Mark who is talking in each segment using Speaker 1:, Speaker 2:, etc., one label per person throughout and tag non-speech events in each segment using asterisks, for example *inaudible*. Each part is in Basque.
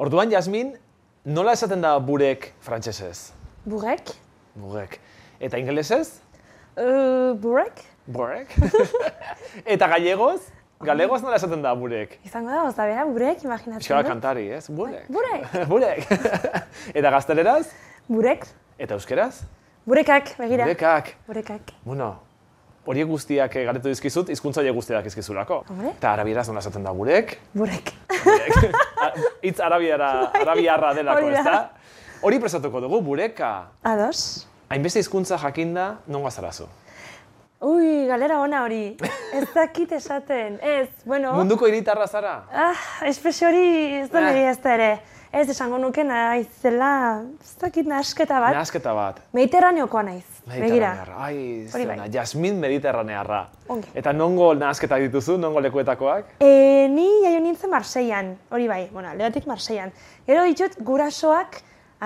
Speaker 1: Orduan, Jasmin, nola esaten da burek frantsesez?
Speaker 2: Burek?
Speaker 1: Burek. Eta ingelesez?
Speaker 2: Uh, burek? *laughs*
Speaker 1: Burek. Eta gallegoz? Galegoz nola esaten da burek?
Speaker 2: Izango da, oza bera, burek, imaginatzen
Speaker 1: Euskara
Speaker 2: dut.
Speaker 1: kantari, ez? Burek.
Speaker 2: Burek.
Speaker 1: *laughs* Burek. Eta gazteleraz?
Speaker 2: Burek?
Speaker 1: Eta euskeraz?
Speaker 2: Burekak, begira.
Speaker 1: Burekak.
Speaker 2: Burekak.
Speaker 1: Bueno, horiek guztiak eh, galdetu dizkizut, hizkuntza horiek guztiak izkizulako.
Speaker 2: Hombre.
Speaker 1: Eta arabieraz nola esaten da burek?
Speaker 2: Burek. *laughs*
Speaker 1: Burek. A- Hitz arabiara, arabiarra delako,
Speaker 2: Hori da.
Speaker 1: ez da? Hori prestatuko dugu, bureka.
Speaker 2: Ados?
Speaker 1: Hainbeste hizkuntza jakinda, non gazarazu.
Speaker 2: Ui, galera ona hori. Ez dakit esaten. Ez, bueno...
Speaker 1: Munduko hiritarra zara?
Speaker 2: Ah, espresio hori ez da
Speaker 1: Ah.
Speaker 2: nire ez da ere. Ez esango nuke naizela, ez dakit nahasketa bat.
Speaker 1: Nahasketa bat.
Speaker 2: Mediterraneokoa naiz, begira.
Speaker 1: Mediterranearra. Ai,
Speaker 2: Hori bai.
Speaker 1: zena, jasmin mediterranearra.
Speaker 2: Ongi.
Speaker 1: Eta nongo nahasketak dituzu, nongo lekuetakoak?
Speaker 2: E, ni jaio nintzen Marseian, hori bai, bueno, lehatik Marseian. Gero ditut gurasoak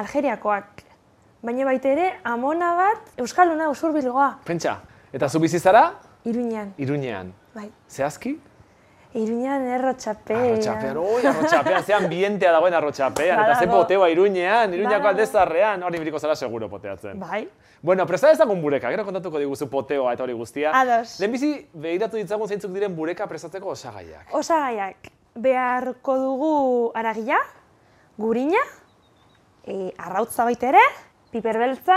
Speaker 2: Algeriakoak, baina baita ere amona bat Euskaluna usur bilgoa,
Speaker 1: Pentsa, eta zu bizi zara?
Speaker 2: Iruñan,
Speaker 1: Iruñean.
Speaker 2: bai.
Speaker 1: Zehazki?
Speaker 2: Iruñan errotxapean.
Speaker 1: Arrotxapean, oi, arrotxapean, ze ambientea dagoen arrotxapean, eta ze
Speaker 2: Badago.
Speaker 1: poteoa iruñean, iruñako
Speaker 2: Badago.
Speaker 1: alde zarrean, hori biriko zara seguro poteatzen.
Speaker 2: Bai,
Speaker 1: Bueno, presta dezagun bureka, gero kontatuko diguzu poteoa eta hori guztia.
Speaker 2: Ados.
Speaker 1: Lehenbizi, behiratu ditzagun zeintzuk diren bureka prestatzeko osagaiak.
Speaker 2: osagaiak, beharko dugu aragila, gurina, e, arrautza baita ere, piperbeltza,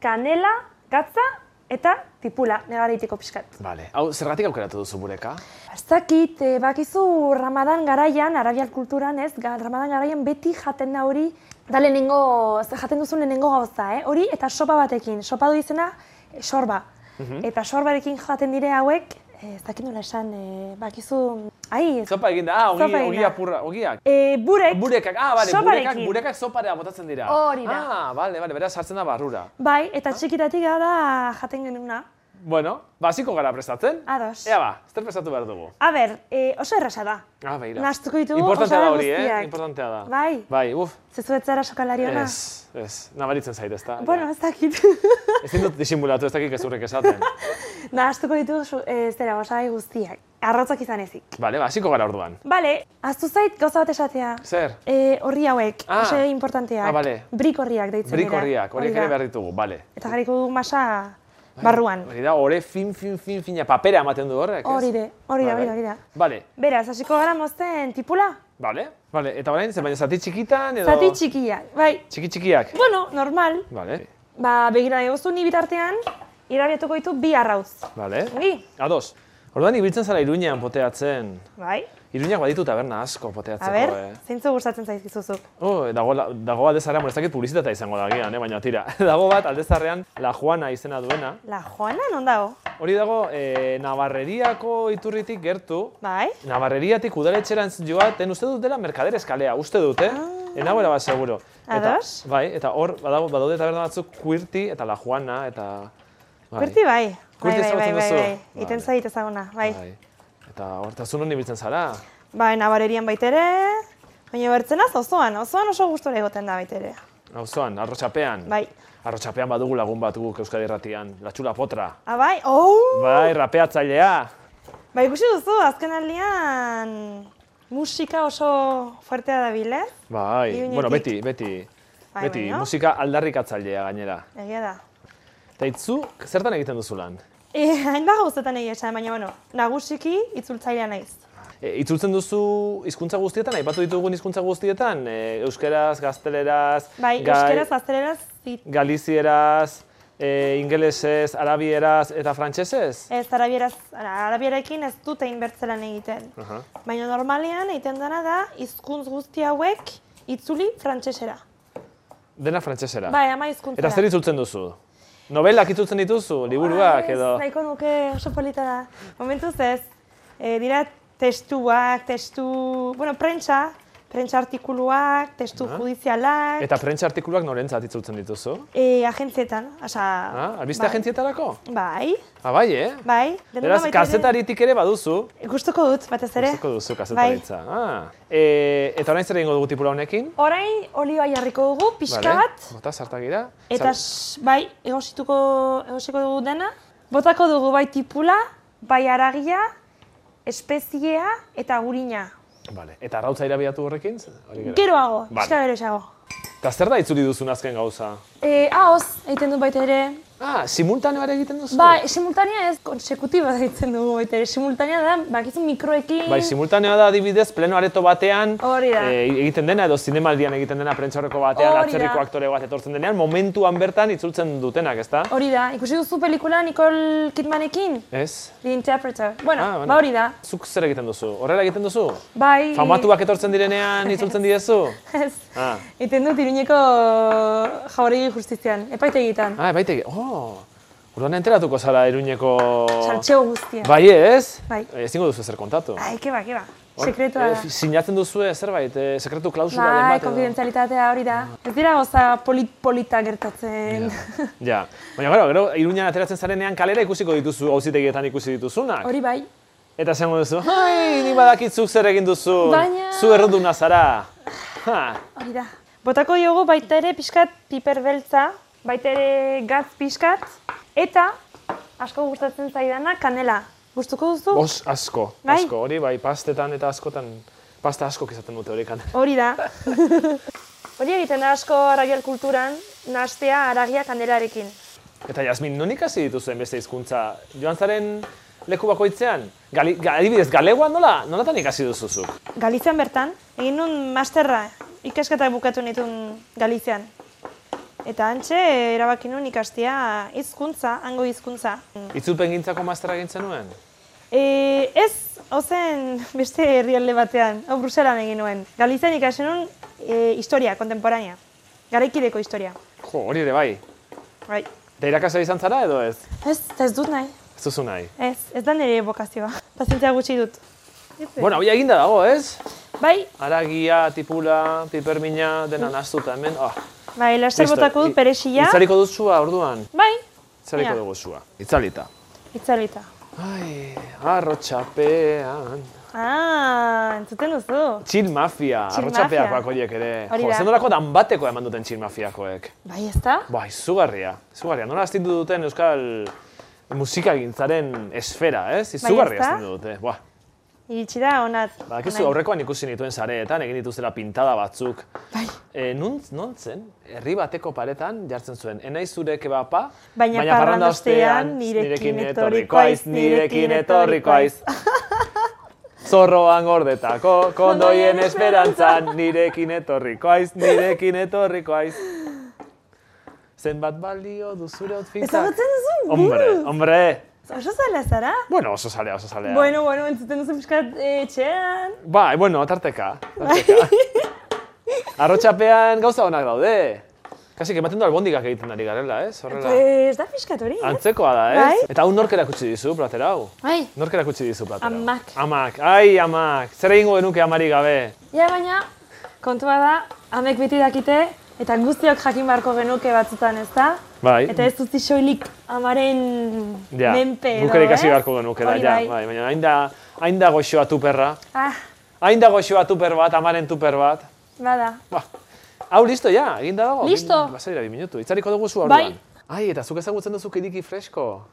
Speaker 2: kanela, gatza eta tipula, negaritiko pixkat.
Speaker 1: Vale, hau, zergatik aukeratu duzu bureka?
Speaker 2: Ez dakit, eh, bakizu Ramadan garaian, arabiar kulturan ez, ga- Ramadan garaian beti jaten da hori, da lehenengo, ze jaten duzu lehenengo gauza, eh? hori eta sopa batekin, sopa du izena, eh, sorba.
Speaker 1: Mhm.
Speaker 2: Eta sorbarekin jaten dire hauek, eh, ez dakit nola esan, eh, bakizu, ai, ez,
Speaker 1: Zopa eginda, ah, ogi,
Speaker 2: Zopa eginda.
Speaker 1: ogi apurra, ogiak.
Speaker 2: Eh, burek,
Speaker 1: Burekak, ah, bale, burekak,
Speaker 2: soparekin.
Speaker 1: burekak zoparea botatzen dira.
Speaker 2: Hori da.
Speaker 1: Ah, bale, bale, beraz sartzen da barrura.
Speaker 2: Bai, eta txikitatik da jaten genuna.
Speaker 1: Bueno, basiko gara prestatzen.
Speaker 2: Ados.
Speaker 1: Ea ba, zer prestatu behar dugu.
Speaker 2: A ber, eh, oso erresa da.
Speaker 1: Ah, beira.
Speaker 2: Nahastuko ditugu
Speaker 1: Importantea
Speaker 2: osagai
Speaker 1: da hori, eh?
Speaker 2: guztiak.
Speaker 1: Importantea da.
Speaker 2: Bai.
Speaker 1: Bai, uf,
Speaker 2: Zezuetzara sokalari ona.
Speaker 1: Ez, ez, nabaritzen zait, ez da.
Speaker 2: Bueno, ez dakit. *laughs*
Speaker 1: Ez dut disimulatu, ez dakik gezurrek esaten.
Speaker 2: Nahastuko ditugu zu- eh, zera osagai guztiak. Arrotzak izan ezik.
Speaker 1: Bale, ba, hasiko gara orduan.
Speaker 2: Bale, aztu zait gauza bat esatea.
Speaker 1: Zer?
Speaker 2: E, horri hauek,
Speaker 1: Ah.
Speaker 2: oso importanteak.
Speaker 1: Ah, bale.
Speaker 2: Brik horriak deitzen
Speaker 1: Brik
Speaker 2: dira.
Speaker 1: horriak, horiek
Speaker 2: Hori
Speaker 1: ere
Speaker 2: da.
Speaker 1: behar ditugu, bale.
Speaker 2: Eta jarriko dugu masa barruan.
Speaker 1: Hori da, hori fin, fin, fin, fina, papera ematen du horrek, ez?
Speaker 2: Hori da, hori da,
Speaker 1: bai, Bai,
Speaker 2: hori da, hori da.
Speaker 1: Bale,
Speaker 2: Beraz, hasiko gara mozten tipula?
Speaker 1: bale, bale, eta orain, zer baina zati txikitan edo...
Speaker 2: Zati txikia, bai.
Speaker 1: Txiki txikiak.
Speaker 2: Bueno, normal.
Speaker 1: Bale,
Speaker 2: Ba, begira egozu ni bitartean, irabiatuko ditu bi arrautz.
Speaker 1: bale.
Speaker 2: Ongi?
Speaker 1: Ados, orduan ibiltzen zara Iruñean poteatzen.
Speaker 2: Bai.
Speaker 1: Iruñak baditu taberna asko
Speaker 2: A
Speaker 1: poteatzeko,
Speaker 2: ber,
Speaker 1: eh?
Speaker 2: zeintzu gustatzen zaizkizuzu.
Speaker 1: Oh, dago, la- dago aldezarrean, bueno, ez dakit publizitatea izango da agian, eh? baina tira. *laughs* dago bat aldezarrean La Juana izena duena.
Speaker 2: La Juana non dago?
Speaker 1: Hori dago, eh, Navarreriako iturritik gertu,
Speaker 2: Bai.
Speaker 1: Navarreriatik udaletxerantz joaten uste dut dela Merkaderes kalea, uste dut, eh? Enago bat seguro.
Speaker 2: Ah. Ados?
Speaker 1: Bai, eta hor badago badaude taberna batzuk Quirti eta La Juana eta bai.
Speaker 2: Kurti bai. Bai,
Speaker 1: Kurti
Speaker 2: bai, bai,
Speaker 1: ezagutzen
Speaker 2: bai,
Speaker 1: duzu?
Speaker 2: bai. Iten
Speaker 1: Vale.
Speaker 2: zait ezaguna, bai.
Speaker 1: bai. Eta hortasun non ibiltzen zara?
Speaker 2: Bai, nabarerian baitere, baina bertzena zozoan, ozoan oso gustora egoten da baitere.
Speaker 1: Auzoan, arrotxapean.
Speaker 2: Bai.
Speaker 1: Arrotxapean badugu lagun bat guk Euskadi Erratian, Latxula Potra.
Speaker 2: Ah, bai, oh!
Speaker 1: Bai, rapeatzailea.
Speaker 2: Ba, ikusi duzu, azken aldian musika oso fuertea da bile,
Speaker 1: Bai,
Speaker 2: Iruñetik.
Speaker 1: bueno, beti, beti.
Speaker 2: Bai,
Speaker 1: beti,
Speaker 2: baino.
Speaker 1: musika aldarrikatzailea gainera.
Speaker 2: egia da.
Speaker 1: Eta itzu, zertan egiten duzu lan?
Speaker 2: E, hain da gauzetan egia esan, baina bueno, nagusiki itzultzailea naiz.
Speaker 1: E, itzultzen duzu hizkuntza guztietan, aipatu ditugun hizkuntza guztietan, e, euskeraz, gazteleraz,
Speaker 2: Bai,
Speaker 1: gai-
Speaker 2: euskeraz, gazteleraz, zit.
Speaker 1: galizieraz, e, ingelesez, arabieraz eta frantsesez?
Speaker 2: Ez, arabieraz, arabiarekin ez dut egin bertzelan egiten.
Speaker 1: Aha.
Speaker 2: Baina normalean egiten dena da, hizkuntz guzti hauek itzuli frantsesera.
Speaker 1: Dena frantsesera.
Speaker 2: Bai, ama hizkuntzera.
Speaker 1: eta zer itzultzen duzu? Novelak itzultzen dituzu, liburuak
Speaker 2: Ah, Ez,
Speaker 1: edo...
Speaker 2: Nahiko nuke oso polita da. Momentuz ez, e, dira testuak, testu, bueno, prentsa, prentsa artikuluak, testu judizialak,
Speaker 1: Ah. Eta prentsa artikuluak norentzat itzultzen dituzu?
Speaker 2: e, agentzietan, oza...
Speaker 1: Ah, albiste agentzietarako?
Speaker 2: Bai,
Speaker 1: Ah, bai, eh?
Speaker 2: bai. denbora
Speaker 1: Beraz,
Speaker 2: bai. baita ere-
Speaker 1: kazetaritik ere baduzu.
Speaker 2: Gustuko dut, batez ere. Bai.
Speaker 1: Gustoko duzu kazetaritza. Ah. E, eta orain zer egingo dugu tipula honekin?
Speaker 2: Orain olioa jarriko dugu, pixka bat.
Speaker 1: Bota sartagira.
Speaker 2: Eta, s- bai, egosituko, egosiko dugu dena. Botako dugu bai tipula, bai aragia, espeziea eta gurina.
Speaker 1: Vale. Eta arrautza irabiatu horrekin? ze- Hori gero.
Speaker 2: Geroago,
Speaker 1: Vale.
Speaker 2: pixka geroago.
Speaker 1: Eta zer da itzuli duzun azken gauza?
Speaker 2: E, ahoz, egiten dut baita ere,
Speaker 1: Ah, simultaneo ere egiten duzu?
Speaker 2: Ba, simultanea ez, konsekutiba deitzen dugu baita ere. Simultanea da, bakizu mikroekin,
Speaker 1: Bai, simultaneoa da adibidez, pleno areto batean
Speaker 2: Hori da.
Speaker 1: eh, egiten dena, edo zinemaldian egiten dena, prentxorreko batean,
Speaker 2: Hori da.
Speaker 1: atzerriko aktore bat etortzen denean, momentuan bertan itzultzen dutenak, ezta?
Speaker 2: hori da, ikusi duzu pelikula Nicole Kidmanekin?
Speaker 1: Ez?
Speaker 2: The Interpreter. Bueno,
Speaker 1: *laughs* Ah, bueno.
Speaker 2: ba hori da.
Speaker 1: Zuk zer egiten duzu? Horrela egiten duzu?
Speaker 2: Bai, *laughs*
Speaker 1: Famatuak etortzen direnean itzultzen diezu?
Speaker 2: ez.
Speaker 1: Ah,
Speaker 2: Iten dut iruñeko jauregi justizian, epaitegitan.
Speaker 1: ah baitegi, oh! Orduan enteratuko zara iruñeko...
Speaker 2: Saltxeo guztia.
Speaker 1: Bai ez?
Speaker 2: Bai.
Speaker 1: Ezingo duzu ezer kontatu.
Speaker 2: Ai, keba, keba.
Speaker 1: Hor,
Speaker 2: ba. Sekretua
Speaker 1: eh,
Speaker 2: da.
Speaker 1: fi- sinatzen duzu zerbait, eh, sekretu klausularen
Speaker 2: Bai,
Speaker 1: bat edo?
Speaker 2: konfidenzialitatea hori da. Ez dira goza polit-polita gertatzen.
Speaker 1: *laughs* Ja, baina gero, gero, Iruñan ateratzen zarenean kalera ikusiko dituzu, auzitegietan ikusi dituzunak.
Speaker 2: *laughs* Hori bai.
Speaker 1: Eta esango duzu, ai, ni badakitzuk zer egin duzu,
Speaker 2: Baina-
Speaker 1: zu erruduna zara. Ha,
Speaker 2: Hori da. Botako diogu baita ere pixkat piper beltza, baita ere gatz pixkat, eta asko gustatzen zaidana kanela. Gustuko duzu?
Speaker 1: os, asko,
Speaker 2: Bai.
Speaker 1: asko, hori bai, pastetan eta askotan, pasta askok izaten dute hori kan.
Speaker 2: Hori da. *laughs* Hori egiten da asko aragial kulturan, nastea aragia kanelarekin.
Speaker 1: *laughs* Eta Jasmin, non ikasi dituzuen beste hizkuntza? Joan zaren leku bakoitzean? Gali, ga- adibidez, galegoan nola, nolatan ikasi duzuzuk?
Speaker 2: Galizian bertan, egin nun masterra, ikasketak bukatu nituen Galizian. Eta hantxe, erabaki nun ikastia hizkuntza, hango hizkuntza.
Speaker 1: Itzulpen gintzako masterra egin zenuen?
Speaker 2: E, ez, ozen beste herrialde batean, hau Bruselan egin nuen. Galizian ikasen nun e, historia, kontemporanea. Garaikideko historia.
Speaker 1: Jo, hori ere bai.
Speaker 2: Bai.
Speaker 1: Eta irakasle izan zara edo ez?
Speaker 2: Ez, eta ez dut nahi.
Speaker 1: Ez duzu nahi.
Speaker 2: Ez, ez da nire bokazioa. Pazientzia gutxi dut. Ez,
Speaker 1: Bueno, hau eginda dago, ez?
Speaker 2: Bai,
Speaker 1: Aragia, tipula, pipermina, dena nastuta hemen. Ah,
Speaker 2: bai, laster
Speaker 1: listo.
Speaker 2: botako
Speaker 1: I-
Speaker 2: dut perexila.
Speaker 1: Itzaliko duzua, orduan.
Speaker 2: Bai,
Speaker 1: Itzaliko
Speaker 2: Ja.
Speaker 1: dugu zua. Itzalita.
Speaker 2: itzalita.
Speaker 1: Ai, arrotxapean.
Speaker 2: Ah, entzuten duzu.
Speaker 1: Txil mafia,
Speaker 2: Chill
Speaker 1: arrotxapeakoak
Speaker 2: Mafia.
Speaker 1: horiek ere.
Speaker 2: Hori
Speaker 1: Jo,
Speaker 2: da.
Speaker 1: zen nolako danbateko eman duten txil mafiakoek.
Speaker 2: Bai, ez da?
Speaker 1: Ba, izugarria, izugarria. Nola astindu duten euskal musikagintzaren esfera, ez? Izugarria
Speaker 2: Bai, ezta?
Speaker 1: astindu dute. Buah,
Speaker 2: Iritsi da, onat.
Speaker 1: Badakizu
Speaker 2: Nahi.
Speaker 1: aurrekoan ikusi nituen sareetan, egin dituzela pintada batzuk.
Speaker 2: Bai.
Speaker 1: E, nuntz, nontzen, herri bateko paretan jartzen zuen, enai zure kebapa,
Speaker 2: Baina parranda ostean, nirekin etorriko haiz, nirekin etorriko haiz.
Speaker 1: *laughs* Zorroan gordetako, kondoien esperantzan, nirekin etorriko haiz, nirekin etorriko haiz. Zenbat balio du zure outfitak?
Speaker 2: Ezagutzen duzu,
Speaker 1: Hombre,
Speaker 2: buruz.
Speaker 1: hombre!
Speaker 2: Oso zala zara?
Speaker 1: Bueno, oso salea, oso salea.
Speaker 2: Bueno, bueno, entzuten duzu pixkat eh, etxean.
Speaker 1: Bai, bueno, tarteka. tarteka.
Speaker 2: *laughs*
Speaker 1: Arrotxapean gauza honak daude. Kasik ematen du albondigak egiten ari garela, ez? Horrela.
Speaker 2: Pues da pixkat hori, eh?
Speaker 1: Antzekoa da, ez?
Speaker 2: Bai.
Speaker 1: Eta hau nork erakutsi dizu, plater hau?
Speaker 2: Bai.
Speaker 1: Nork erakutsi dizu plater hau?
Speaker 2: Amak.
Speaker 1: Amak, ai, amak. Zer egingo genuke amari gabe?
Speaker 2: Ja, baina, kontua da, amek beti dakite, eta guztiok jakin beharko genuke batzutan, ez da?
Speaker 1: Bai.
Speaker 2: Eta ez dut soilik amaren
Speaker 1: Ja,
Speaker 2: menpe edo,
Speaker 1: guk ere ikasi
Speaker 2: eh?
Speaker 1: beharko genuke da,
Speaker 2: Hori
Speaker 1: ja,
Speaker 2: bai.
Speaker 1: bai, baina hain da, hain da goxoa tuperra,
Speaker 2: Ah,
Speaker 1: hain da goxoa tuper bat, amaren tuper bat.
Speaker 2: bada.
Speaker 1: Ba, hau listo ja, eginda dago.
Speaker 2: Listo.
Speaker 1: Bazaira, bi minutu, itzariko dugu zu
Speaker 2: Bai.
Speaker 1: orduan. Ai, eta zuk ezagutzen duzu kiriki fresko.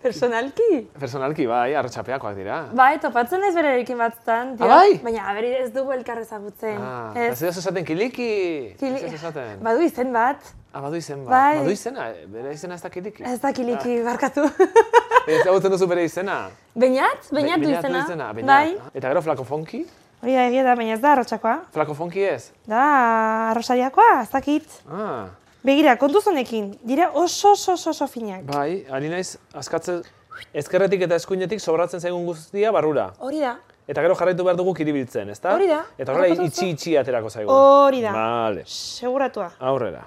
Speaker 2: Personalki?
Speaker 1: Personalki, bai, arrotxapeakoak dira.
Speaker 2: Bai, topatzen ez berarekin batzutan, dio.
Speaker 1: Ah, bai?
Speaker 2: Baina, aberi ez dugu elkar ezagutzen.
Speaker 1: Ah, ez
Speaker 2: ez.
Speaker 1: ez esaten kiliki.
Speaker 2: Kili-
Speaker 1: Ez ez esaten.
Speaker 2: Badu izen bat,
Speaker 1: Ah, badu izen bat.
Speaker 2: Bai.
Speaker 1: Badu izena, eh, bere izena ez da kiliki.
Speaker 2: ez da kiliki barkatu. *laughs*
Speaker 1: Ez hau duzu bere izena.
Speaker 2: Beinat? Beinat du
Speaker 1: Be- beinat
Speaker 2: izena?
Speaker 1: beinat.
Speaker 2: Bai.
Speaker 1: Eta gero flakofonki?
Speaker 2: Hori da egia da, baina ez da arrotxakoa.
Speaker 1: Flakofonki ez?
Speaker 2: Da, arrosariakoa, ez dakit.
Speaker 1: Ah,
Speaker 2: Begira, kontuz honekin, dira oso oso oso oso finak.
Speaker 1: bai, ari naiz, askatzen, ezkerretik eta eskuinetik sobratzen zaigun guztia barrura.
Speaker 2: Hori da.
Speaker 1: Eta gero jarraitu behar dugu kiribiltzen, ezta?
Speaker 2: Hori da.
Speaker 1: Eta horrela
Speaker 2: Harrapatu duzu.
Speaker 1: itxi-itxi aterako zaigu.
Speaker 2: Hori da.
Speaker 1: Vale,
Speaker 2: Seguratua.
Speaker 1: aurrera.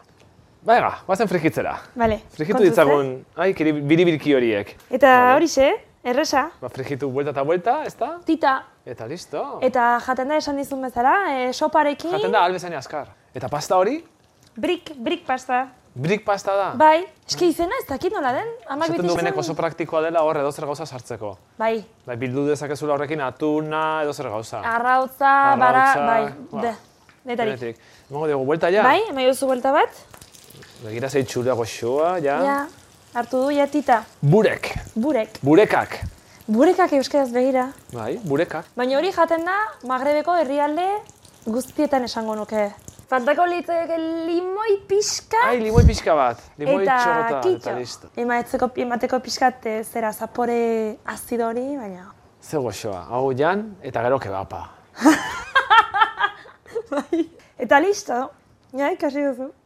Speaker 1: Baiga, bazen frikitzera.
Speaker 2: Vale.
Speaker 1: Frikitu
Speaker 2: kontuz, eh?
Speaker 1: ditzagun, ai, kiri- biribilki horiek.
Speaker 2: Eta horixe, erresa.
Speaker 1: Ba, frijitu buelta eta buelta, ezta?
Speaker 2: Tita.
Speaker 1: Eta listo.
Speaker 2: Eta jaten da esan dizun bezala, e, soparekin,
Speaker 1: Jaten da albezain askar. Eta pasta hori,
Speaker 2: brik, brik pasta.
Speaker 1: brik pasta da.
Speaker 2: Bai, eski izena ez dakit nola den, amak
Speaker 1: Esaten
Speaker 2: beti
Speaker 1: du
Speaker 2: izan.
Speaker 1: benek oso praktikoa dela horre edo zer gauza sartzeko.
Speaker 2: Bai,
Speaker 1: Bai, bildu dezakezula horrekin atuna edo zer gauza.
Speaker 2: Ah, arrautza, bara,
Speaker 1: Arrautza,
Speaker 2: bai,
Speaker 1: ba.
Speaker 2: de, detarik.
Speaker 1: Benetik. Emango diogu, buelta ja.
Speaker 2: Bai, emai duzu buelta bat,
Speaker 1: Begira zei txura goxoa, ja.
Speaker 2: ja, hartu du ja tita,
Speaker 1: Burek,
Speaker 2: burek.
Speaker 1: burekak.
Speaker 2: Burekak euskaraz begira.
Speaker 1: Bai, burekak.
Speaker 2: Baina hori jaten da, Magrebeko herrialde guztietan esango nuke. Faltako litzeke limoi pixka
Speaker 1: Ai, limoi pixka bat. Limoi
Speaker 2: eta
Speaker 1: txorrota
Speaker 2: kitxo.
Speaker 1: eta listo.
Speaker 2: Emaetzeko, emateko pixkat eh, zera zapore azido hori, baina...
Speaker 1: Ze goxoa, hau jan eta gero kebapa.
Speaker 2: Eta listo, ja, ikasi duzu.